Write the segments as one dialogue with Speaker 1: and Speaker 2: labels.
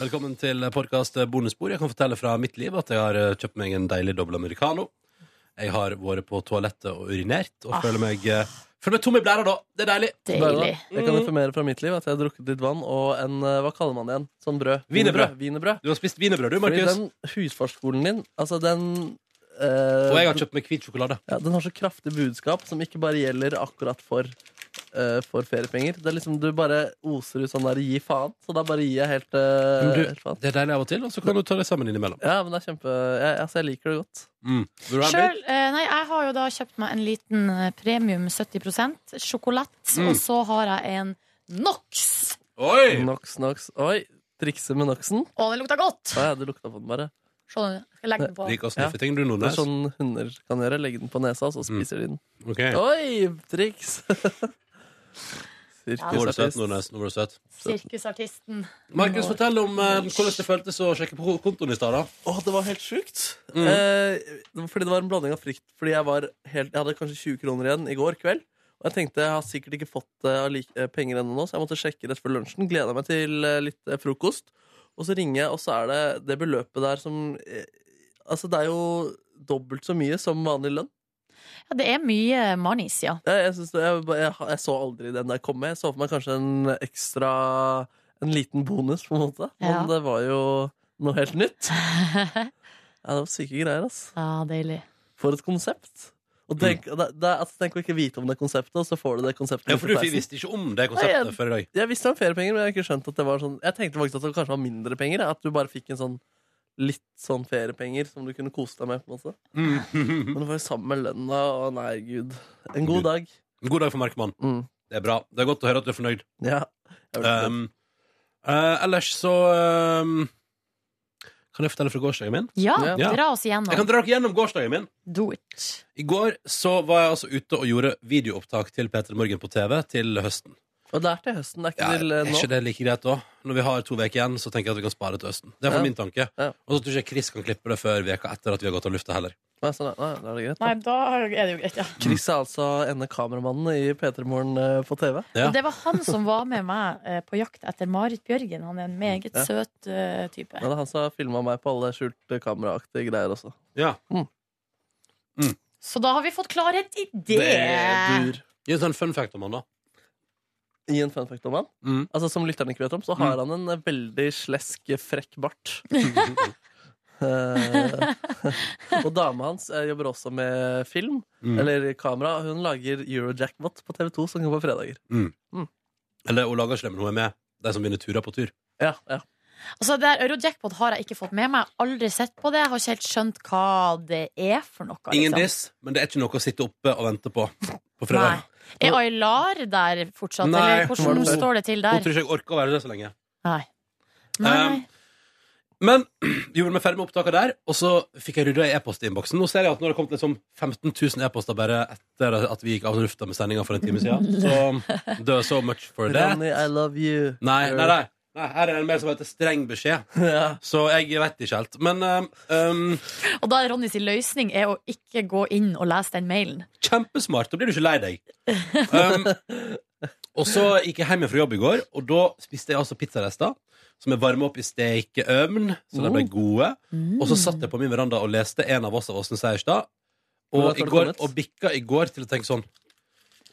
Speaker 1: Velkommen til podcast bonusbord. Jeg kan fortelle fra mitt liv at jeg har eh, kjøpt meg en deilig dobbel americano. Jeg har vært på toalettet og urinert,
Speaker 2: Ah.
Speaker 1: og føler meg eh, Føler meg tom i blæra da. Det er deilig.
Speaker 3: Deilig.
Speaker 2: Laila,
Speaker 1: Mm.
Speaker 2: Jeg kan informere fra mitt liv at jeg har drukket litt vann og en eh, Hva kaller man det igjen? Sånn brød.
Speaker 1: Wienerbrød.
Speaker 2: Wienerbrød.
Speaker 1: Du har spist wienerbrød, du,
Speaker 2: Fordi
Speaker 1: Markus.
Speaker 2: den husfarskolen din, altså den eh,
Speaker 1: Og jeg har kjøpt meg hvit sjokolade.
Speaker 2: ja, Den har så kraftig budskap som ikke bare gjelder akkurat for eh, for feriepenger. Det er liksom Du bare oser ut sånn der 'gi faen', så da bare gir jeg helt, eh,
Speaker 1: Men du-
Speaker 2: helt faen.
Speaker 1: Det er deilig av og til, og så kan du ta det sammen innimellom.
Speaker 2: Ja, men det er kjempe jeg, Altså, jeg liker det godt.
Speaker 1: Mm. Vil du ha en bit?
Speaker 3: Selv, eh, nei, jeg har jo da kjøpt meg en liten eh, premium 70 sjokolett,
Speaker 1: Mm.
Speaker 3: og så har jeg en NOx.
Speaker 1: Oi!
Speaker 2: Nox, Nox. Oi! Trikse med Noxen.
Speaker 3: Å, den lukta godt!
Speaker 2: Å ja, du lukta på den bare.
Speaker 3: Se nå, jeg skal legge den på.
Speaker 1: Lik å sniffe ting, du,
Speaker 2: Det er
Speaker 1: Nordnes.
Speaker 2: sånn hunder kan gjøre. Legge den på nesa, og så
Speaker 1: Mm.
Speaker 2: spiser de den.
Speaker 1: Ok.
Speaker 2: Oi! Triks!
Speaker 1: Nå var du søt,
Speaker 2: Sirkusartist.
Speaker 1: Nordnes. Nå var du søt.
Speaker 3: Sirkusartisten.
Speaker 1: Markus, fortell om eh, hvordan det føltes å sjekke på kontoen i stad, da.
Speaker 2: Å, det var helt sjukt. Eh, det var fordi det var en blanding av frykt. Fordi jeg, var helt, jeg hadde kanskje 20 kroner igjen i går kveld. Og jeg tenkte jeg har sikkert ikke fått eh, like, eh, penger ennå, nå, så jeg måtte sjekke rett før lunsjen. Gleda meg til eh, litt eh, frokost. Og så ringer jeg, og så er det det beløpet der som eh, Altså, det er jo dobbelt så mye som vanlig lønn.
Speaker 3: Ja, det er mye manis, ja.
Speaker 2: Jeg, jeg, synes det, jeg, bare- jeg, jeg så aldri den der komme. Jeg så for meg kanskje en ekstra En liten bonus, på en måte. Men
Speaker 3: Ja.
Speaker 2: det var jo noe helt nytt. Ja, det var syke greier, ass.
Speaker 3: ah, deilig.
Speaker 2: For et konsept!
Speaker 1: Mm.
Speaker 2: Og tenk, det, det, altså, tenk å ikke vite om det konseptet, og så får du det konseptet.
Speaker 1: Ja, for
Speaker 2: på
Speaker 1: du
Speaker 2: peisen.
Speaker 1: visste ikke om det
Speaker 2: Nei,
Speaker 1: konseptet før i dag.
Speaker 2: Jeg visste om feriepenger, men jeg har ikke skjønt at det var sånn Jeg tenkte faktisk at det kanskje var mindre penger. At du bare fikk en sånn litt sånn feriepenger som du kunne kose deg med. på en måte
Speaker 1: Mm.
Speaker 2: Men det var jo sammen med lønna, og nei, gud. En god dag.
Speaker 1: God dag for Markmann.
Speaker 2: Mm.
Speaker 1: Det er bra. Det er godt å høre at du er fornøyd.
Speaker 2: Ja. Jeg vet ikke.
Speaker 1: Um, eh, ellers så um, Kan jeg fortelle fra gårsdagen min?
Speaker 3: Ja,
Speaker 1: Ja.
Speaker 3: dra oss
Speaker 1: Jeg kan
Speaker 3: igjennom.
Speaker 1: dra dere gjennom gårsdagen min.
Speaker 3: Do it.
Speaker 1: I går så var jeg altså ute og gjorde videoopptak til P3 Morgen på TV til høsten.
Speaker 2: Og det er til høsten, det er ikke
Speaker 1: Ja,
Speaker 2: til eh,
Speaker 1: er
Speaker 2: nå.
Speaker 1: ikke det like greit da? Når vi har to uker igjen, så tenker jeg at vi kan spare til høsten. Det er
Speaker 2: Ja.
Speaker 1: for min tanke.
Speaker 2: Ja.
Speaker 1: Og så tror jeg ikke Chris kan klippe det før veka etter at vi har gått av lufta heller.
Speaker 2: Nei, sånn, er- nei, da er det greit. da.
Speaker 3: da er det jo greit, ja.
Speaker 2: Chris er altså ene kameramannen i P3 Morgen eh, på TV.
Speaker 1: Ja.
Speaker 3: Og det var han som var med meg eh, på jakt etter Marit Bjørgen. Han er en meget
Speaker 2: Ja.
Speaker 3: søt eh, type.
Speaker 2: Men det er han som har filma meg på alle skjulte kameraaktige greier også.
Speaker 1: Ja.
Speaker 3: Så da har vi fått klarhet i det.
Speaker 2: dur.
Speaker 1: Gi en sånn fun fact om han, da.
Speaker 2: I en fun fact om han
Speaker 1: Mm.
Speaker 2: Altså Som lytterne ikke vet om, så har han en eh, veldig slesk, frekk bart.
Speaker 1: mm,
Speaker 2: Eh, og dama hans eh, jobber også med film,
Speaker 1: Mm.
Speaker 2: eller kamera. Hun lager Eurojackpot på TV2, som går på fredager.
Speaker 1: Eller hun lager ikke det, men hun er med. De som vinner turer på tur.
Speaker 2: Ja, ja.
Speaker 3: Altså, det her Eurojackpot har jeg ikke fått med meg. Jeg har Aldri sett på det. Jeg har ikke helt skjønt hva det er for noe.
Speaker 1: Ingen
Speaker 3: liksom.
Speaker 1: diss, men det er ikke noe å sitte oppe og vente på på fredag.
Speaker 3: Nei. Er Aylar der fortsatt,
Speaker 1: Nei,
Speaker 3: eller hvordan
Speaker 1: hun-
Speaker 3: står det til
Speaker 1: Hun
Speaker 3: der?
Speaker 1: tror ikke jeg orker å være der så lenge.
Speaker 3: Nei. Nei.
Speaker 1: Men vi gjorde meg ferdig med opptaket der, og så fikk jeg rydda i e-postinnboksen. Nå ser jeg at nå har det kommet liksom 15 000 e-poster bare etter at vi gikk av lufta med sendinga for en time siden. Så dø so much for that.
Speaker 2: Ronny, I love you.
Speaker 1: Nei, nei, nei. nei her er det en mail som heter 'streng beskjed',
Speaker 2: Ja.
Speaker 1: så jeg vet ikke helt. Men um, um,
Speaker 3: Og da er Ronny sin løsning er å ikke gå inn og lese den mailen.
Speaker 1: kjempesmart, da blir du ikke lei deg. Um, og så gikk jeg hjem fra jobb i går, og da spiste jeg altså pizzarester. Som er varma opp i stekeovn, så de ble gode. Og
Speaker 3: Mm.
Speaker 2: Mm.
Speaker 1: så satt jeg på min veranda og leste En av oss av Åsne Seierstad.
Speaker 2: Hvor
Speaker 1: Og,
Speaker 2: langt har
Speaker 1: i
Speaker 2: du
Speaker 1: går,
Speaker 2: kommet?
Speaker 1: og bikka i går til å tenke sånn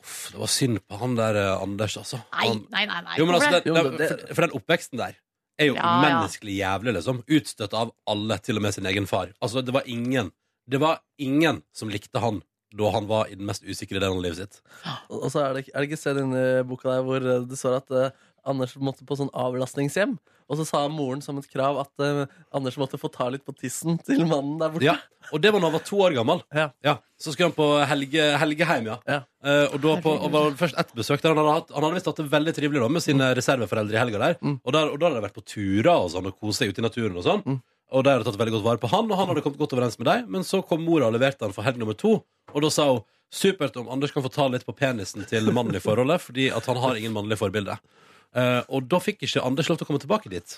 Speaker 1: Uff, det var synd på han der eh, Anders, altså.
Speaker 3: Nei,
Speaker 1: Han,
Speaker 3: nei, nei. nei.
Speaker 1: jo, men altså,
Speaker 3: Hvorfor det?
Speaker 1: det,
Speaker 2: Jo, men
Speaker 1: det,
Speaker 2: det-
Speaker 1: for, for den oppveksten der er jo
Speaker 3: Ja, ja.
Speaker 1: menneskelig jævlig, liksom. Utstøtt av alle, til og med sin egen far. Altså, det var ingen Det var ingen som likte han da han var i den mest usikre delen av livet sitt.
Speaker 2: Og så er det, ikke- er det ikke sted inni boka der hvor eh, det står at eh, Anders måtte på sånn avlastningshjem. Og så sa moren som et krav at eh, Anders måtte få ta litt på tissen til mannen der borte.
Speaker 1: Ja, Og det var da han var to år gammel.
Speaker 2: Ja.
Speaker 1: Så skulle han på helge, Helgeheim, ja.
Speaker 2: Ja.
Speaker 1: Eh, og da på, og var først ett besøk der han hadde, hatt, han hadde visst hatt det veldig trivelig da, med sine reserveforeldre i helga der.
Speaker 2: Mm.
Speaker 1: Og, der. og da hadde de vært på turer og sånn, og kost seg ute i naturen og sånn.
Speaker 2: Mm.
Speaker 1: Og de hadde tatt veldig godt vare på han, og han hadde kommet godt overens med dem. Men så kom mora og leverte han for helg nummer to, og da sa hun supert om Anders kan få ta litt på penisen til mannen i forholdet, fordi at han har ingen mannlig forbilde. Eh, og da fikk ikke Anders lov til å komme tilbake dit.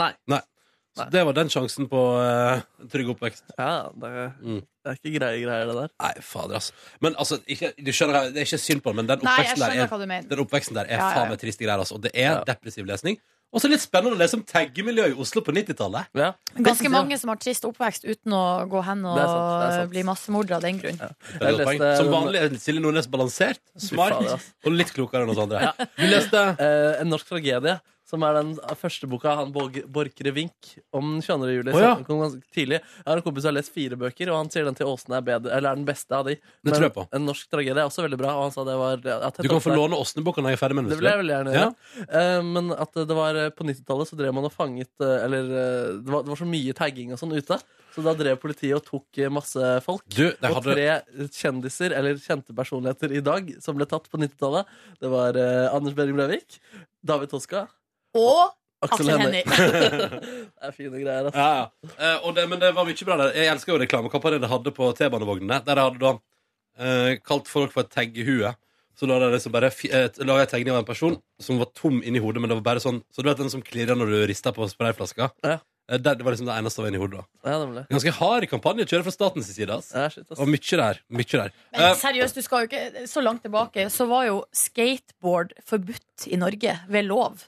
Speaker 2: Nei.
Speaker 1: Så
Speaker 2: Nei.
Speaker 1: det var den sjansen på eh, trygg oppvekst.
Speaker 2: Ja, det,
Speaker 1: Mm.
Speaker 2: det er ikke greie greier, det der.
Speaker 1: Nei, fader, altså. Men altså, ikke, du skjønner, det er ikke synd på han, men den
Speaker 3: Nei, jeg
Speaker 1: oppveksten,
Speaker 3: skjønner
Speaker 1: der,
Speaker 3: hva du
Speaker 1: er,
Speaker 3: mener.
Speaker 1: den oppveksten der er
Speaker 3: Ja, ja, ja.
Speaker 1: faen meg triste greier, altså. Og det er
Speaker 2: Ja.
Speaker 1: depressiv lesning. Og så litt spennende å lese om taggemiljøet i Oslo på 90-tallet.
Speaker 2: Ja.
Speaker 3: Ganske mange som har trist oppvekst uten å gå hen og
Speaker 2: Det er sant, det er sant.
Speaker 3: bli massemordere av den grunn.
Speaker 1: Det er et godt
Speaker 2: leste
Speaker 1: poeng. Som
Speaker 2: den-
Speaker 1: vanlig er Silje Nordnes balansert, smart
Speaker 2: fader, ass.
Speaker 1: og litt klokere enn oss andre. Du leste
Speaker 2: Eh, en norsk tragedie, som er den første boka han Borg- Borchgre Vink om den 22. juli.
Speaker 1: Å, ja.
Speaker 2: som kom ganske tidlig. Jeg har en kompis som har lest fire bøker, og han sier den til Åsne er, bedre, eller er den beste av de.
Speaker 1: Det tror jeg på.
Speaker 2: en norsk tragedie er også veldig bra, og han sa det var at jeg
Speaker 1: Du kan få
Speaker 2: tapte-
Speaker 1: låne Åsnebukka når jeg er ferdig med den.
Speaker 2: Det
Speaker 1: hvis du
Speaker 2: vil jeg
Speaker 1: vil.
Speaker 2: veldig gjerne gjøre. Eh, men at det var eh, på 90-tallet så drev man og fanget eh, Eller eh, det var, det var så mye tagging og sånn ute, så da drev politiet og tok eh, masse folk.
Speaker 1: Du, der
Speaker 2: Og
Speaker 1: hadde
Speaker 2: tre kjendiser, eller kjente personligheter i dag, som ble tatt på 90-tallet. Det var eh, Anders Behring Breivik, David Toska,
Speaker 3: Og
Speaker 2: Aksel
Speaker 3: Aksel
Speaker 2: Hennie.
Speaker 3: Hennie.
Speaker 2: Det er fine greier, ass.
Speaker 1: Ja, ja. Eh, og det, men det var mye bra der. Jeg elsker jo reklamekampanjen de hadde på T-banevognene. Der de hadde da eh, kalt folk for et taggehue. Så la de liksom bare fi- eh, la jeg tegning av en person som var tom inni hodet, men det var bare sånn Så du vet den som klirrer når du rister på sprayflaska?
Speaker 2: Ja.
Speaker 1: Eh, der, det var liksom det eneste som var inni hodet. da
Speaker 2: Ja, nemlig.
Speaker 1: Ganske hard kampanje kjører fra statens side. ass.
Speaker 2: Ja, shit, ass.
Speaker 1: Og mye der. Mye der.
Speaker 3: Men
Speaker 1: Eh,
Speaker 3: seriøst, du skal jo ikke så langt tilbake. Så var jo skateboard forbudt i Norge ved lov.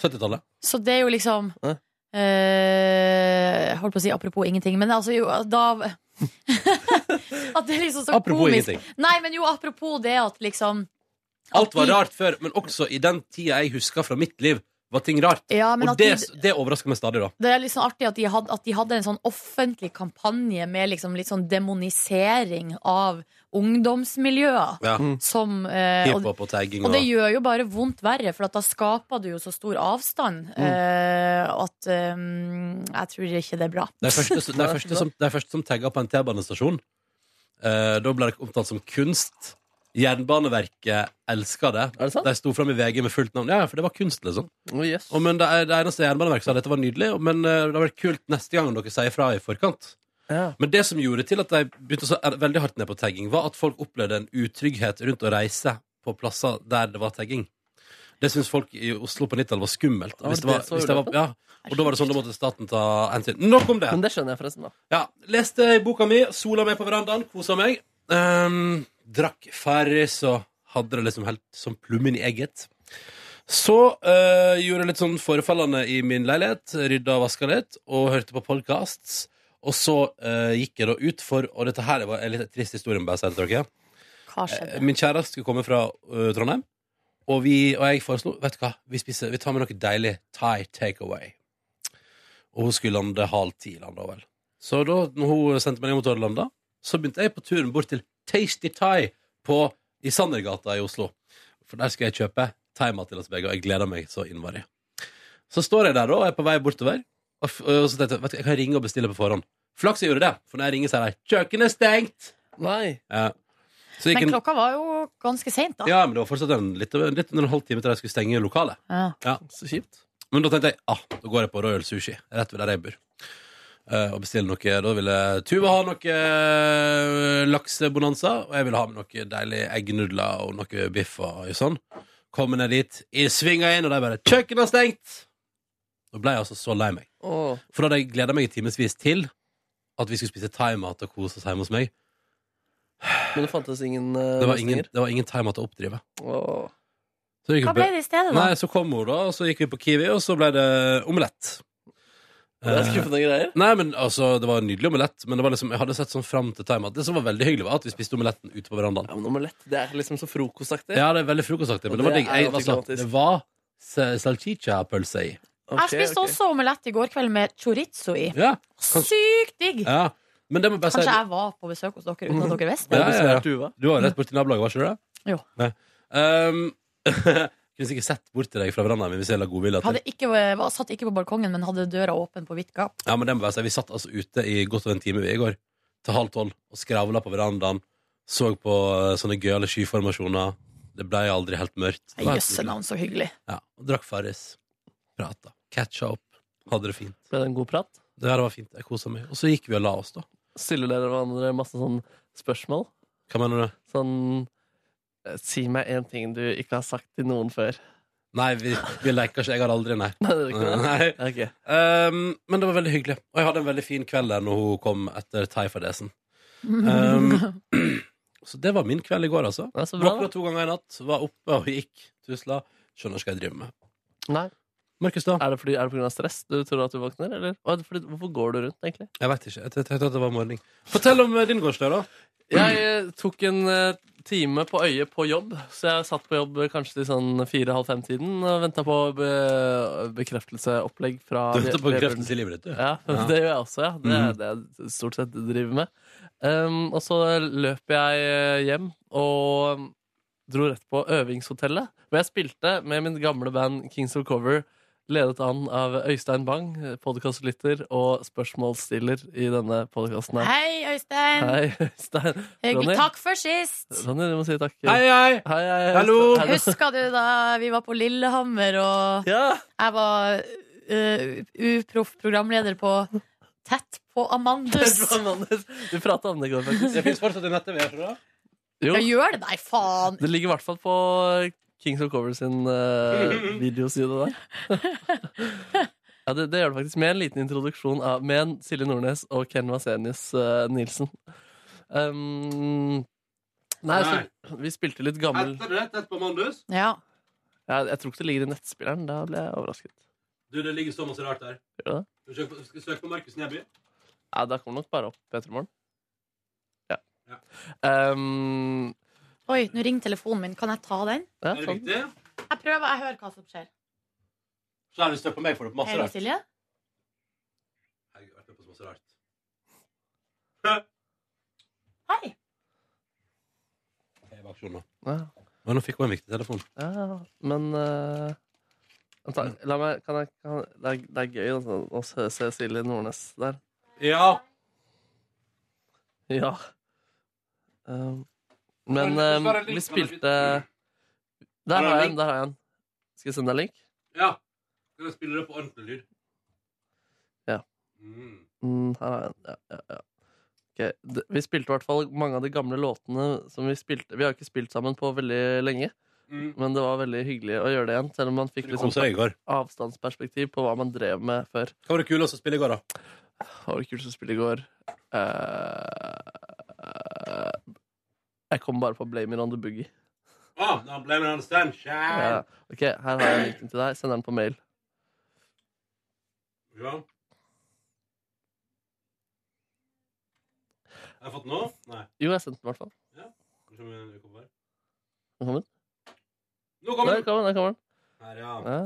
Speaker 1: 70-tallet.
Speaker 3: Så det er jo liksom
Speaker 2: Ja.
Speaker 3: eh, Holdt på å si apropos ingenting, men altså jo da At det er liksom så
Speaker 1: Apropos
Speaker 3: komisk.
Speaker 1: ingenting.
Speaker 3: Nei, men jo, apropos det at liksom
Speaker 1: Alt var rart før, men også i den tida jeg husker fra mitt liv, var ting rart.
Speaker 3: Ja, men
Speaker 1: Og
Speaker 3: at
Speaker 1: det,
Speaker 3: de,
Speaker 1: det overrasker meg stadig, da.
Speaker 3: det er litt sånn artig at de, hadde, at de hadde en sånn offentlig kampanje med liksom litt sånn demonisering av ungdomsmiljøer.
Speaker 1: Ja.
Speaker 3: Som eh, og-
Speaker 1: Mm. Hiphop og tagging
Speaker 3: Og
Speaker 1: og
Speaker 3: det gjør jo bare vondt verre, for at da skaper du jo så stor avstand
Speaker 1: Mm.
Speaker 3: eh, at eh, Jeg tror ikke det er bra.
Speaker 1: De første, som- de første, som, de første som tagga på en T-banestasjon, eh, da ble det omtalt som kunst. Jernbaneverket elska det.
Speaker 2: Er det sant?
Speaker 1: De sto fram i VG med fullt navn. Ja, ja, for det var kunst, liksom.
Speaker 2: Oh, yes.
Speaker 1: Og, men det, er- det eneste Jernbaneverket sa, dette var nydelig, men eh, det hadde vært kult neste gang dere sier fra i forkant.
Speaker 2: ja.
Speaker 1: Men det som gjorde til at de begynte så er- veldig hardt ned på tagging, var at folk opplevde en utrygghet rundt å reise på plasser der det var tagging. Det syntes folk i Oslo på 90-tallet var skummelt. Og,
Speaker 2: Ja,
Speaker 1: hvis det
Speaker 2: var
Speaker 1: var,
Speaker 2: det så
Speaker 1: hvis det var, ja, og da var det sånn da måtte staten ta hensyn. Nok om det!
Speaker 2: Men det skjønner jeg forresten, da.
Speaker 1: Ja, leste i boka mi, sola meg på verandaen, kosa meg. Ehm, drakk Farris og hadde det liksom helt som plummen i egget. Så eh, gjorde jeg litt sånn forefallende i min leilighet, rydda og vaska litt, og hørte på podkasts. Og så eh, gikk jeg da ut for Og dette her var en litt trist historie. må jeg Bare si til dere.
Speaker 3: Hva
Speaker 1: Eh,
Speaker 3: skjedde?
Speaker 1: Min kjæreste skulle komme fra eh, Trondheim, og, vi, og jeg foreslo Vet du hva, vi, spiser, vi tar med noe deilig Thai takeaway. Og hun skulle lande halv ti, landa vel. Så da når hun sendte meg ned mot Hordaland, så begynte jeg på turen bort til Tasty Thai på, i Sandergata i Oslo. For der skal jeg kjøpe thaimat til oss begge, og jeg gleder meg så innmari. Så står jeg der da, og er på vei bortover, og, f og så tenkte jeg vet du, jeg kan ringe og bestille på forhånd. Flaks jeg gjorde det, for når jeg ringer, sier de 'kjøkkenet er stengt'.
Speaker 2: Nei.
Speaker 1: Ja. Så gikk
Speaker 3: Men
Speaker 1: en,
Speaker 3: klokka var jo ganske seint, da.
Speaker 1: ja, men det var fortsatt en, litt, over- litt under en halv time til de skulle stenge lokalet.
Speaker 3: Ja.
Speaker 2: Så kjipt.
Speaker 1: Men da tenkte jeg ah, da går jeg på Royal Sushi, rett ved der jeg bor. Eh, og bestiller noe Da ville Tuva ha noe eh, laksebonanza, og jeg ville ha med noe deilig eggnudler og noe biff og sånn. Kommer ned dit, jeg svinger inn, og de bare 'Kjøkkenet er stengt!' Da ble jeg altså så lei meg.
Speaker 2: Åh.
Speaker 1: For da hadde jeg gleda meg i timevis til at vi skulle spise thaimat og kose oss hjemme hos meg.
Speaker 2: Men det fantes ingen uh,
Speaker 1: Det var ingen, det var ingen thaimat å oppdrive.
Speaker 2: Åh.
Speaker 1: Så gikk vi
Speaker 3: Hva
Speaker 1: på-
Speaker 3: ble det i stedet, da?
Speaker 1: Nei, så kom hun da, og så gikk vi på Kiwi, og så ble det omelett.
Speaker 2: Det er
Speaker 1: Eh,
Speaker 2: skuffende greier.
Speaker 1: Nei, men altså, Det var en nydelig omelett, men det var liksom, jeg hadde sett sånn fram til time at det som var veldig hyggelig, var at vi spiste omeletten ute på verandaen.
Speaker 2: Ja, men omelett, det er liksom så frokostaktig.
Speaker 1: Ja, det er veldig frokostaktig, men
Speaker 2: Og
Speaker 1: det var
Speaker 2: det
Speaker 1: digg.
Speaker 2: er
Speaker 1: Jeg,
Speaker 2: ganske
Speaker 1: altså,
Speaker 2: gratis.
Speaker 1: det var sa- salchicha-pølse i.
Speaker 2: Ok,
Speaker 3: jeg spiste
Speaker 2: ok.
Speaker 3: også omelett i går kveld med chorizo i.
Speaker 1: Ja, kanskje-
Speaker 3: Sykt digg!
Speaker 1: ja. Men det må jeg bare
Speaker 3: Kanskje
Speaker 1: si
Speaker 3: jeg var på besøk hos dere uten at dere visste
Speaker 1: Ja,
Speaker 3: det.
Speaker 1: ja, ja.
Speaker 2: Besvær Tuva.
Speaker 1: Du var jo rett borti nabolaget, var ikke du det?
Speaker 3: Jo.
Speaker 1: Nei. Um, kunne sikkert sett bort til deg fra verandaen min hvis jeg la godvilje til.
Speaker 3: Hadde ikke, var, satt ikke på balkongen, men hadde døra åpen på vidt gap.
Speaker 1: Ja, men det må jeg si. Vi satt altså ute i godt over en time vi, i går, til halv tolv, og skravla på verandaen. Så på eh, sånne gøyale skyformasjoner. Det ble aldri helt mørkt. Det var helt
Speaker 3: Jøsse
Speaker 1: nydelig.
Speaker 3: navn, så hyggelig.
Speaker 1: Ja, og drakk Farris. Prata. Catcha opp. Hadde det fint.
Speaker 2: Ble det en god prat?
Speaker 1: Det her var fint. Jeg kosa meg. Og så gikk vi og la oss, da.
Speaker 2: Stiller dere hverandre masse sånn spørsmål?
Speaker 1: Hva mener du?
Speaker 2: Sånn eh, Si meg en ting du ikke har sagt til noen før.
Speaker 1: Nei, vi, vi leker ikke. Jeg har aldri, nei.
Speaker 2: Nei, det er ikke det.
Speaker 1: nei.
Speaker 2: Ok.
Speaker 1: Um, men det var veldig hyggelig. Og jeg hadde en veldig fin kveld der når hun kom etter thaifadesen. Um, så det var min kveld i går, altså.
Speaker 2: Ja, så bra,
Speaker 1: Våkna
Speaker 2: da.
Speaker 1: to ganger i natt, var oppe og gikk. Tusla. Skjønner ikke hva jeg driver med.
Speaker 2: Nei.
Speaker 1: Markus, da?
Speaker 2: Er det fordi- er det pga. stress du tror at du våkner? Eller? Og er det fordi, hvorfor går du rundt, egentlig?
Speaker 1: Jeg vet ikke. Jeg tenkte at det var morgen. Fortell om eh, din gårsdag, da.
Speaker 2: Jeg eh, tok en eh, time på øyet på jobb, så jeg satt på jobb eh, kanskje til sånn fire-halv fem-tiden og venta på be bekreftelseopplegg fra
Speaker 1: Du hørte på
Speaker 2: le-
Speaker 1: kreften i livet ditt, du.
Speaker 2: Ja,
Speaker 1: Ja.
Speaker 2: det gjør jeg også, ja. Det
Speaker 1: Mhm.
Speaker 2: er det jeg stort sett driver med. Um, og så løper jeg eh, hjem og dro rett på øvingshotellet, hvor jeg spilte med min gamle band Kings of Cover, ledet an av Øystein Bang, podkastlytter og spørsmålsstiller i denne podkasten.
Speaker 3: Hei, Øystein.
Speaker 2: Hei, Øystein. Ronny.
Speaker 3: Hyggelig. Takk for sist.
Speaker 2: Ronny, du må si takk.
Speaker 1: Hei, hei!
Speaker 2: hei, hei,
Speaker 1: Hallo.
Speaker 2: Øystein.
Speaker 3: Husker du da vi var på Lillehammer, og
Speaker 2: Ja.
Speaker 3: jeg var eh, uproff programleder på Tett på Amandus?
Speaker 2: Du prata om det i går, faktisk.
Speaker 1: Det fins fortsatt en nett-TV, tror du?
Speaker 2: Jo.
Speaker 3: Jeg gjør det, nei, faen!
Speaker 2: Det ligger i hvert fall på Kings of Cover sin eh, videoside der. ja, det, det gjør det faktisk. Med en liten introduksjon av med en Silje Nordnes og Ken Vasenius eh, Nilsen. Um, nei,
Speaker 1: Nei.
Speaker 2: Så, vi spilte litt gammel
Speaker 1: du det? Tett på Mandus?
Speaker 3: Ja.
Speaker 2: jeg, jeg tror ikke det ligger i nettspilleren. Da ble jeg overrasket.
Speaker 1: Du, det ligger så masse rart der.
Speaker 2: Gjør det?
Speaker 1: Du søk på, skal søke på Markus Neby.
Speaker 2: Nei, da kom det nok bare opp Peter Morgen. Ja.
Speaker 1: Ja.
Speaker 2: Um,
Speaker 3: Oi, nå ringer telefonen min. Kan jeg ta den?
Speaker 2: ja,
Speaker 1: Er det
Speaker 2: sånn.
Speaker 1: riktig?
Speaker 3: Jeg prøver, jeg hører hva som skjer.
Speaker 1: Så har du støtt på meg for det på masse
Speaker 3: Hei,
Speaker 1: rart.
Speaker 3: Silje.
Speaker 1: Jeg har vært med på så masse rart.
Speaker 3: Hei.
Speaker 1: Jeg er bak skjolen nå.
Speaker 2: Ja,
Speaker 1: Men nå fikk hun en viktig telefon.
Speaker 2: ja, men eh,
Speaker 1: Mm.
Speaker 2: vent da, La meg kan jeg, kan, det, er, det er gøy altså, å se, se Silje Nordnes der.
Speaker 1: Ja.
Speaker 2: Ja. Um, men
Speaker 1: Kan- kan det
Speaker 2: um,
Speaker 1: være link på
Speaker 2: vi
Speaker 1: den
Speaker 2: spilte
Speaker 1: biten?
Speaker 2: Der har jeg en. der har jeg en. Skal jeg sende deg en link?
Speaker 1: Ja. Kan jeg spille det på ordentlig lyd?
Speaker 2: Ja.
Speaker 1: Mm.
Speaker 2: Mm, her har jeg en. Ja, ja, ja. Ok, d- Vi spilte i hvert fall mange av de gamle låtene som vi spilte. Vi har ikke spilt sammen på veldig lenge,
Speaker 1: Mm.
Speaker 2: men det var veldig hyggelig å gjøre det igjen. Selv om man fikk
Speaker 1: Du
Speaker 2: liksom
Speaker 1: koser deg i går.
Speaker 2: avstandsperspektiv på hva man drev med før.
Speaker 1: Hva var det kuleste å spille i går, da?
Speaker 2: Hva var det kuleste å spille i går? Eh, jeg kom bare på Blame It On The Boogie.
Speaker 1: Ah, no, blame it on the sunshine.
Speaker 2: Ja. Ok, her har jeg linken til deg. Send den på mail.
Speaker 1: Ja. Har jeg fått nå? Nei.
Speaker 2: Jo, jeg sendte den i hvert fall.
Speaker 1: Nå kommer den- den kommer her.
Speaker 2: Den kommer.
Speaker 1: Nå
Speaker 2: Den.
Speaker 1: kommer
Speaker 2: Der
Speaker 1: den!
Speaker 2: kommer den. Der kommer den.
Speaker 1: Her, ja.
Speaker 2: Ja.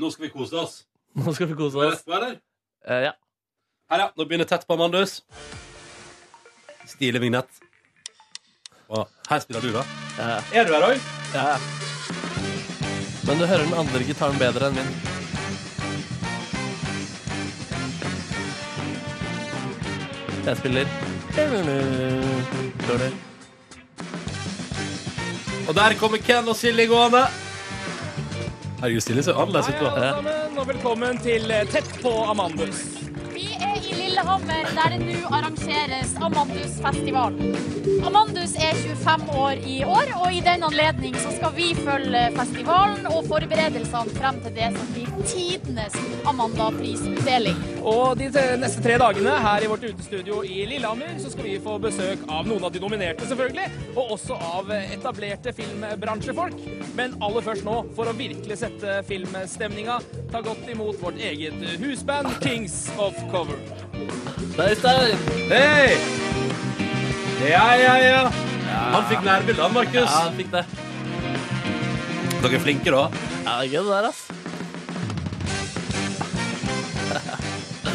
Speaker 1: Nå skal vi kose oss.
Speaker 2: Nå skal vi kose
Speaker 1: Var det
Speaker 2: oss.
Speaker 1: rett på, eller?
Speaker 2: Eh, ja.
Speaker 1: Her, ja. Nå begynner tett på Amandus. Stilig vignett. Og her spiller du, da.
Speaker 2: Ja, ja.
Speaker 1: Er du her òg?
Speaker 2: ja, ja. Eh, Men du hører den andre gitaren bedre enn min. Jeg spiller Dårlig.
Speaker 1: Og der kommer Ken og Silje gående. Herregud, Silje ser annerledes ut. da.
Speaker 4: Hei, alle sammen, og velkommen til eh, Tett på Amandus.
Speaker 5: Vi er i Lillehammer, der det nå arrangeres Amandusfestival. Amandus er 25 år i år, og i den anledning så skal vi følge festivalen og forberedelsene frem til det som blir tidenes Amanda-prisutdeling.
Speaker 4: Og de te- neste tre dagene her i vårt utestudio i Lillehammer så skal vi få besøk av noen av de nominerte, selvfølgelig, og også av eh, etablerte filmbransjefolk. Men aller først nå, for å virkelig sette filmstemninga, ta godt imot vårt eget husband Kings of Cover.
Speaker 2: Der, der.
Speaker 1: Hei! Ja, ja, ja. Han fikk nærbilde, han, Markus.
Speaker 2: Ja, jeg fikk det.
Speaker 1: Dere er flinke, da.
Speaker 2: Ja, det er gøy det der, ass.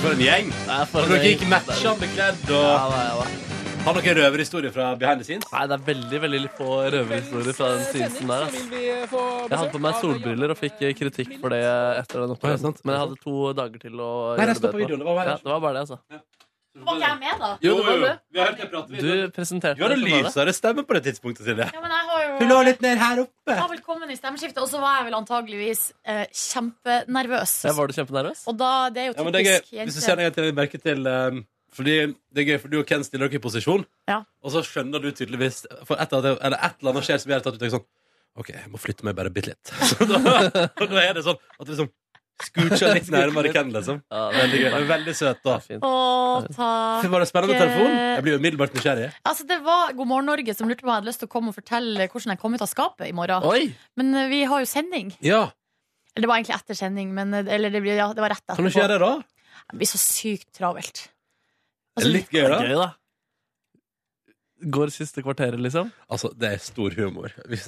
Speaker 1: For en gjeng.
Speaker 2: Det er for
Speaker 1: Og
Speaker 2: en
Speaker 1: dere
Speaker 2: gjeng.
Speaker 1: gikk matchende bekledd.
Speaker 2: Ja,
Speaker 1: Og
Speaker 2: da, ja, da.
Speaker 1: har dere røverhistorie fra behind the scenes?
Speaker 2: Nei, det er veldig veldig få røverhistorier fra den seansen der. ass. Jeg
Speaker 4: Jeg
Speaker 2: hadde på meg solbriller og fikk eh, kritikk for det etter
Speaker 1: Å,
Speaker 2: den
Speaker 1: ja,
Speaker 2: opptredenen.
Speaker 1: sant.
Speaker 2: Men jeg hadde to dager til å
Speaker 1: Nei,
Speaker 2: gjøre
Speaker 1: det står på
Speaker 2: etterpå.
Speaker 1: videoen. Det var bare
Speaker 2: Ja,
Speaker 1: her.
Speaker 2: det var bare det, altså.
Speaker 3: Var ikke jeg med, da?
Speaker 2: Jo, det var det.
Speaker 1: Vi har hørt deg prate.
Speaker 2: Du
Speaker 1: Du,
Speaker 2: presenterte
Speaker 1: du hadde
Speaker 2: det, så var det.
Speaker 1: lysere stemme på det tidspunktet, Silje.
Speaker 3: Ja, men jeg har jo
Speaker 1: Hun lå litt ned her oppe.
Speaker 3: Jeg var velkommen i stemmeskiftet, og så var jeg vel antageligvis eh, kjempenervøs.
Speaker 2: Ja, var du kjempenervøs?
Speaker 3: Og da, det er jo
Speaker 1: Ja, men det er
Speaker 3: typisk
Speaker 1: gøy. Hvis du ser
Speaker 3: jenter.
Speaker 1: deg til merke til um, Fordi det er gøy, for du og Ken stiller dere i posisjon,
Speaker 3: Ja.
Speaker 1: og så skjønner du tydeligvis For et eller annet, eller et eller annet skjer som gjør at du tenker sånn OK, jeg må flytte meg bare bitte litt. Så da, og da er det sånn at du liksom scoocher litt nærmere Ken, liksom.
Speaker 2: Ja,
Speaker 1: Veldig gøy. Men Veldig søt, da.
Speaker 2: Ja, fint.
Speaker 3: Å, takk.
Speaker 1: Var det spennende telefon? Jeg blir jo umiddelbart nysgjerrig.
Speaker 3: Altså, det var God morgen Norge som lurte på om jeg hadde lyst til å komme og fortelle hvordan jeg kom ut av skapet i morgen.
Speaker 2: Oi!
Speaker 3: Men eh, vi har jo sending.
Speaker 1: Ja.
Speaker 3: Eller Det var egentlig etter sending, men eh, eller det, ble- ja, det var rett etterpå.
Speaker 1: Kan du ikke gjøre det, da?
Speaker 3: Det blir så sykt travelt. Altså,
Speaker 1: Det er Altså, litt gøy, da.
Speaker 2: da. Går siste kvarteret, liksom?
Speaker 1: Altså, det er stor humor. Hvis,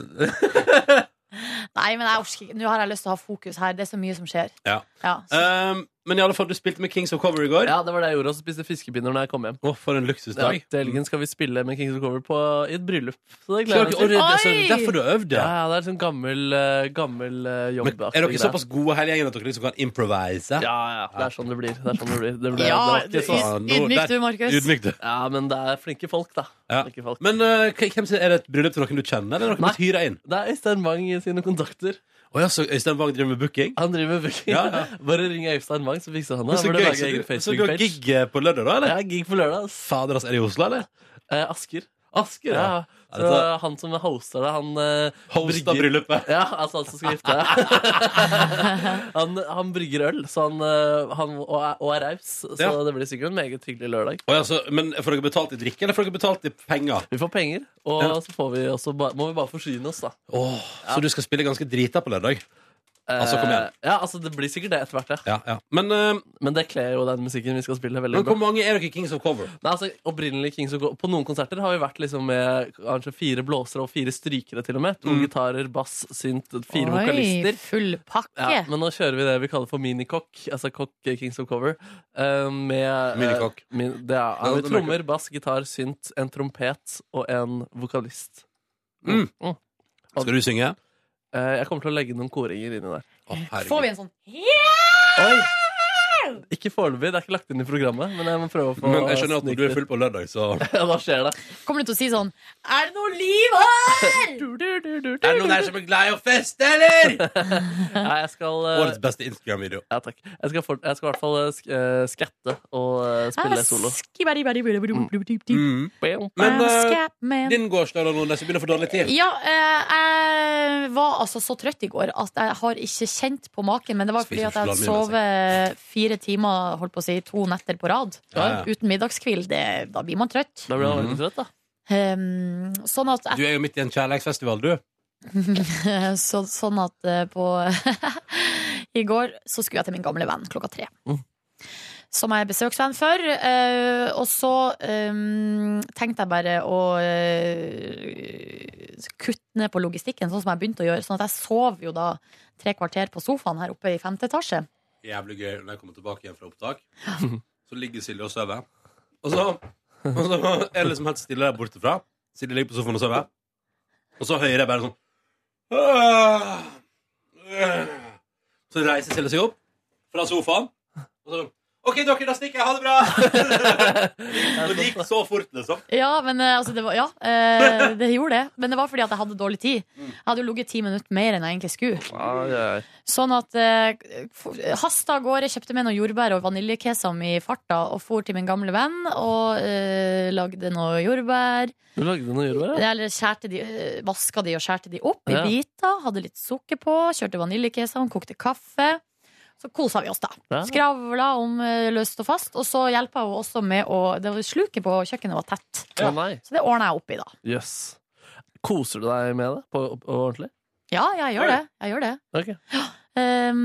Speaker 3: Nei, men jeg orker ikke. Nå har jeg lyst til å ha fokus her. Det er så mye som skjer.
Speaker 1: Ja.
Speaker 3: så,
Speaker 1: um, men i alle fall, du spilte med Kings of Cover i går.
Speaker 2: Ja, det var det jeg gjorde. Og så spiste jeg fiskepinner når jeg kom hjem.
Speaker 1: Å, for en
Speaker 2: Ja,
Speaker 1: luksusdag.
Speaker 2: til helgen skal vi spille med Kings of Cover på, i et bryllup. Så det
Speaker 1: Klarer
Speaker 2: gleder
Speaker 1: ikke
Speaker 2: jeg
Speaker 1: å
Speaker 2: meg til.
Speaker 1: redde så
Speaker 3: Oi!
Speaker 1: Derfor du øvde.
Speaker 2: Ja, ja, det er sånn gammel, eh, gammel eh, jobb.
Speaker 1: Men er dere såpass gode hele gjengen at dere liksom kan improvise?
Speaker 2: Ja, ja. Det er sånn det blir. Det er sånn det blir. Det ble,
Speaker 3: ja,
Speaker 2: det var ikke så...
Speaker 1: så-
Speaker 3: yd- ydmyk du, Markus.
Speaker 1: Ydmyk, du.
Speaker 2: ja, men det er flinke folk, da.
Speaker 1: Ja.
Speaker 2: Flinke folk.
Speaker 1: Men eh, hvem sin, er det et bryllup til noen du kjenner, eller er det noen
Speaker 2: Nei.
Speaker 1: du hyrer inn?
Speaker 2: Det er Øystein Wang i sine kontakter.
Speaker 1: Å ja, så Øystein Wang driver med booking?
Speaker 2: Han driver med booking.
Speaker 1: Ja, ja.
Speaker 2: Bare ring Øystein Wang, så fikser han
Speaker 1: Men
Speaker 2: det. Han
Speaker 1: så
Speaker 2: burde
Speaker 1: gøy,
Speaker 2: lage
Speaker 1: så du-
Speaker 2: egen
Speaker 1: så du har
Speaker 2: Facebook-page.
Speaker 1: gig eh, på lørdag, da? eller?
Speaker 2: Ja, gig på lørdag. ass.
Speaker 1: Fader, altså, er det i Oslo, eller?
Speaker 2: Eh, Asker.
Speaker 1: Asker,
Speaker 2: Ja.
Speaker 1: ja.
Speaker 2: Så
Speaker 1: Er det
Speaker 2: han som hoster det, han eh,
Speaker 1: Hosta
Speaker 2: brygger-
Speaker 1: bryllupet.
Speaker 2: Ja, altså han som skal gifte deg. han, han brygger øl, så han, eh, han, og, er- og er raus. Så
Speaker 1: Ja.
Speaker 2: det blir sikkert en meget hyggelig lørdag.
Speaker 1: Å, ja, så, men får dere betalt i drikke, eller får dere betalt i penger?
Speaker 2: Vi får penger, og
Speaker 1: Ja.
Speaker 2: så får vi også, ba- må vi bare forsyne oss, da.
Speaker 1: Åh, Så du skal spille ganske drita på lørdag?
Speaker 2: Eh,
Speaker 1: Altså, kom igjen.
Speaker 2: Ja, altså Det blir sikkert det etter hvert, ja.
Speaker 1: Ja, ja. Men, eh,
Speaker 2: Men det kler jo den musikken vi skal spille. veldig
Speaker 1: men
Speaker 2: bra
Speaker 1: hvor mange er dere i Kings of Cover?
Speaker 2: Nei, altså, opprinnelig Kings of Go På noen konserter har vi vært liksom med kanskje fire blåsere og fire strykere, til og med.
Speaker 1: Mm.
Speaker 2: To gitarer, bass, synt, fire vokalister.
Speaker 3: Oi, full pakke.
Speaker 2: Ja, men nå kjører vi det vi kaller for minikokk. Altså kokk eh, Kings of Cover. eh, med eh,
Speaker 1: Minikokk.
Speaker 2: Min, det er,
Speaker 1: Ja,
Speaker 2: er
Speaker 1: det
Speaker 2: med trommer, bass, gitar, synt, en trompet og en vokalist.
Speaker 1: Mm. Skal du synge?
Speaker 2: Eh, jeg kommer til å legge noen koringer inni der.
Speaker 1: Å, herregud.
Speaker 3: Får vi en sånn
Speaker 2: Oi! Ikke foreløpig. Det er ikke lagt inn i programmet, men jeg må prøve å få
Speaker 1: Men jeg skjønner at
Speaker 2: snike
Speaker 1: når du er
Speaker 2: det.
Speaker 1: full på lørdag, så
Speaker 2: Ja, da skjer det.
Speaker 3: Kommer du til å si sånn Er det noe liv her?!
Speaker 1: Er det noen her som er glad i å feste, eller?
Speaker 2: Nei, jeg skal eh,
Speaker 1: Årets beste Instagram-video.
Speaker 2: Ja, takk. Jeg skal, for, jeg skal i hvert fall eh, sk eh, skatte og eh, spille solo.
Speaker 3: Skibidi-bidi-bidi-bidi-bidi-bidi.
Speaker 1: Mm.
Speaker 2: Bam.
Speaker 1: Men
Speaker 3: I'm
Speaker 1: eh,
Speaker 3: Scatman.
Speaker 1: din gårsdag, da, Nordnes, vi begynner å få dårlig tid.
Speaker 3: Ja, eh, jeg var altså så trøtt i går at jeg har ikke kjent på maken. Men det var fordi
Speaker 1: Spiser
Speaker 3: at jeg hadde
Speaker 1: sjokolade
Speaker 3: sovet fire timer, holdt på å si, to netter på rad.
Speaker 1: Ja, ja.
Speaker 3: Uten middagskvil. Det, da blir man trøtt.
Speaker 2: Da blir han veldig trøtt, da.
Speaker 3: Um, sånn at,
Speaker 1: Du er jo midt i en kjærlighetsfestival, du.
Speaker 3: så, sånn at eh, på I går så skulle jeg til min gamle venn klokka tre.
Speaker 2: Mm.
Speaker 3: Som jeg er besøksvenn for. eh, og så eh, tenkte jeg bare å eh, kutte ned på logistikken, sånn som jeg begynte å gjøre. Sånn at jeg sov jo da tre kvarter på sofaen her oppe i femte etasje.
Speaker 1: Jævlig gøy når jeg kommer tilbake igjen fra opptak. Så ligger Silje og sover. Og så, og så er det liksom helt stille der borte fra. Silje ligger på sofaen og sover. Og så hører jeg bare sånn Så reiser Silje seg opp fra sofaen. Og så OK, dere, da stikker jeg. Ha det bra! Og det gikk så fort, liksom.
Speaker 3: Ja, men eh, altså, det var, ja, eh, det gjorde det. Men det var fordi at jeg hadde dårlig tid. Jeg hadde jo ligget ti minutter mer enn jeg egentlig skulle.
Speaker 2: Ai, ai.
Speaker 3: Sånn at eh, for- hasta av gårde, kjøpte med noe jordbær og vaniljekesam i farta og for til min gamle venn og eh, lagde noe jordbær.
Speaker 2: Du lagde noe jordbær? ja?
Speaker 3: Eller skjærte de, eh, vaska de og skjærte de opp i
Speaker 2: Ja.
Speaker 3: biter. Hadde litt sukker på, kjørte vaniljekesam, kokte kaffe. Så kosa vi oss, da.
Speaker 2: Ja.
Speaker 3: Skravla om eh, løst og fast. Og så hjelpa hun også med å det var Sluket på kjøkkenet var tett.
Speaker 2: Å nei.
Speaker 3: Så det ordna jeg opp i, da.
Speaker 2: Jøss. Koser du deg med det på, på ordentlig?
Speaker 3: Ja, jeg gjør det. Jeg gjør det.
Speaker 2: Ok.
Speaker 3: Um,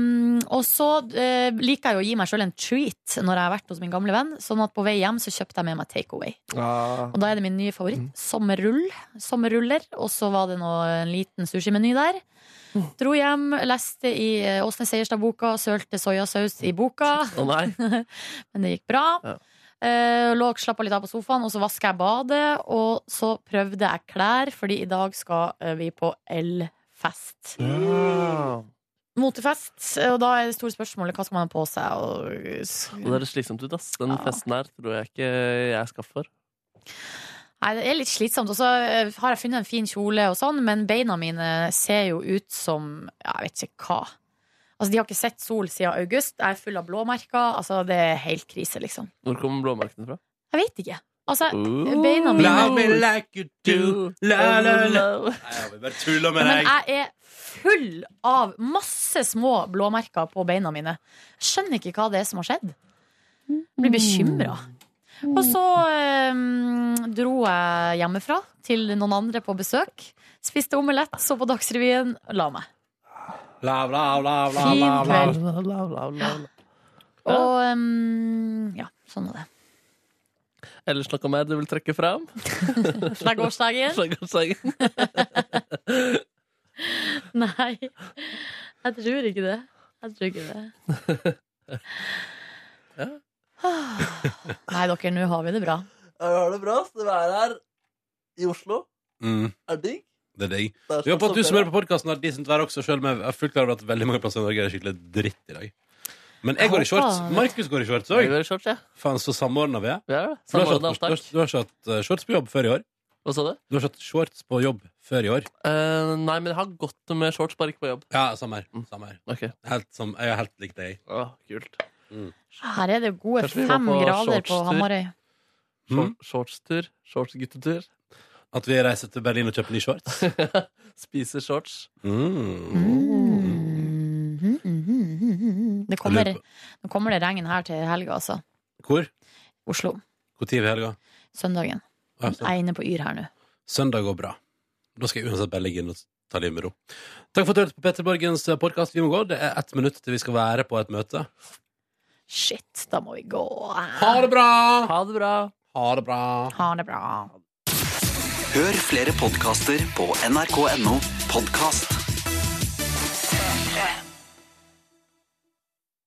Speaker 3: og så eh, liker jeg jo å gi meg sjøl en treat når jeg har vært hos min gamle venn. Sånn at på vei hjem så kjøpte jeg med meg takeaway.
Speaker 2: Ah.
Speaker 3: Og da er det min nye favoritt. Sommerrull. Sommerruller. Og så var det nå en liten sushimeny der. Dro hjem, leste i eh, Åsne Seierstad-boka, sølte soyasaus i boka.
Speaker 2: Å nei.
Speaker 3: Men det gikk bra.
Speaker 2: Ja.
Speaker 3: Eh, lå og slappa litt av på sofaen, og så vaska jeg badet. Og så prøvde jeg klær, fordi i dag skal eh, vi på elfest. Motefest, og da er det store spørsmålet hva skal man ha på seg. Og...
Speaker 2: Det høres slitsomt ut, ass. Den
Speaker 3: Ja.
Speaker 2: festen her tror jeg ikke jeg skal for.
Speaker 3: Nei, det er litt slitsomt. Og så eh, har jeg funnet en fin kjole, og sånn, men beina mine ser jo ut som ja, jeg vet ikke hva. Altså, De har ikke sett sol siden august. Jeg er full av blåmerker. Altså, Det er helt krise, liksom.
Speaker 2: Hvor kommer blåmerkene fra?
Speaker 3: Jeg vet ikke. Altså,
Speaker 2: Ooh.
Speaker 3: beina
Speaker 1: Love me
Speaker 3: mine
Speaker 1: like you do. La, la, la. Nei, jeg vil bare tulle med
Speaker 3: Men
Speaker 1: deg.
Speaker 3: jeg er full av masse små blåmerker på beina mine. Jeg skjønner ikke hva det er som har skjedd. Jeg blir bekymra. Og så eh, dro jeg hjemmefra til noen andre på besøk. Spiste omelett, så på Dagsrevyen, la meg.
Speaker 1: Bla, bla, bla, bla,
Speaker 3: Fin
Speaker 1: bla, bla.
Speaker 3: kveld.
Speaker 2: Bla, bla, bla, bla, bla.
Speaker 3: Og ehm, ja, sånn er det.
Speaker 2: Ellers noe mer du vil trekke fram?
Speaker 3: Flaggårsdagen?
Speaker 2: Slaggårdsdagen.
Speaker 3: Nei, jeg tror ikke det. Jeg tror ikke det.
Speaker 2: Ja.
Speaker 3: Ah. Nei, dere, nå har vi det bra.
Speaker 2: Ja, vi har det bra. Så det er her i Oslo.
Speaker 1: Mm,
Speaker 2: Er digg.
Speaker 1: det er digg.
Speaker 2: Det er
Speaker 1: Vi håper
Speaker 2: sånn
Speaker 1: at du som
Speaker 2: ferie.
Speaker 1: hører på podkasten, har decent vær også, selv om jeg er fullt klar over at veldig mange plasser i Norge er skikkelig dritt i dag. Men jeg går i shorts.
Speaker 3: Håper-
Speaker 1: Markus går i shorts
Speaker 2: Vi
Speaker 1: òg.
Speaker 2: går i shorts, ja.
Speaker 1: Faen, så samordna vi er.
Speaker 2: Vi er det.
Speaker 1: Du har ikke
Speaker 2: Samordna
Speaker 1: hatt- du har
Speaker 2: opptak.
Speaker 1: ikke- du har ikke hatt eh, shorts på jobb før i år.
Speaker 2: Hva sa du?
Speaker 1: Du har ikke hatt shorts på jobb før i år.
Speaker 2: Eh, nei, men jeg har gått med shorts, bare ikke på jobb.
Speaker 1: Ja, samme her.
Speaker 2: Mm.
Speaker 1: Samme her.
Speaker 2: Ok.
Speaker 1: Helt som, jeg er helt lik deg.
Speaker 2: Å, kult.
Speaker 3: Her er det jo gode
Speaker 2: Kanskje vi må
Speaker 3: fem
Speaker 2: på
Speaker 3: grader på
Speaker 2: shortstur?
Speaker 3: Hamarøy.
Speaker 2: Short,
Speaker 1: Mm.
Speaker 2: Shortstur. Shortsguttetur.
Speaker 1: At vi reiser til Berlin og kjøper nye shorts.
Speaker 2: Spiser shorts.
Speaker 1: Mm.
Speaker 3: Mm. Mhm, mhm, mhm. Det kommer,
Speaker 1: Jeg lurer
Speaker 3: nå kommer det regn her til helga, altså.
Speaker 1: Hvor?
Speaker 3: Oslo.
Speaker 1: Hvor tid i helga?
Speaker 3: Søndagen.
Speaker 1: Ja,
Speaker 3: Jeg er inne på Yr her nå.
Speaker 1: Søndag går bra. Da skal jeg uansett bare ligge inne og ta livet med ro. Takk for at du hørte på Petter Borgens podkast. Vi må gå. Det er ett minutt til vi skal være på et møte.
Speaker 3: Shit, da må vi gå.
Speaker 1: Ha det bra!
Speaker 2: Ha det bra.
Speaker 1: Ha det bra.
Speaker 3: Ha det bra.
Speaker 6: Hør flere podkaster på nrk.no podkast.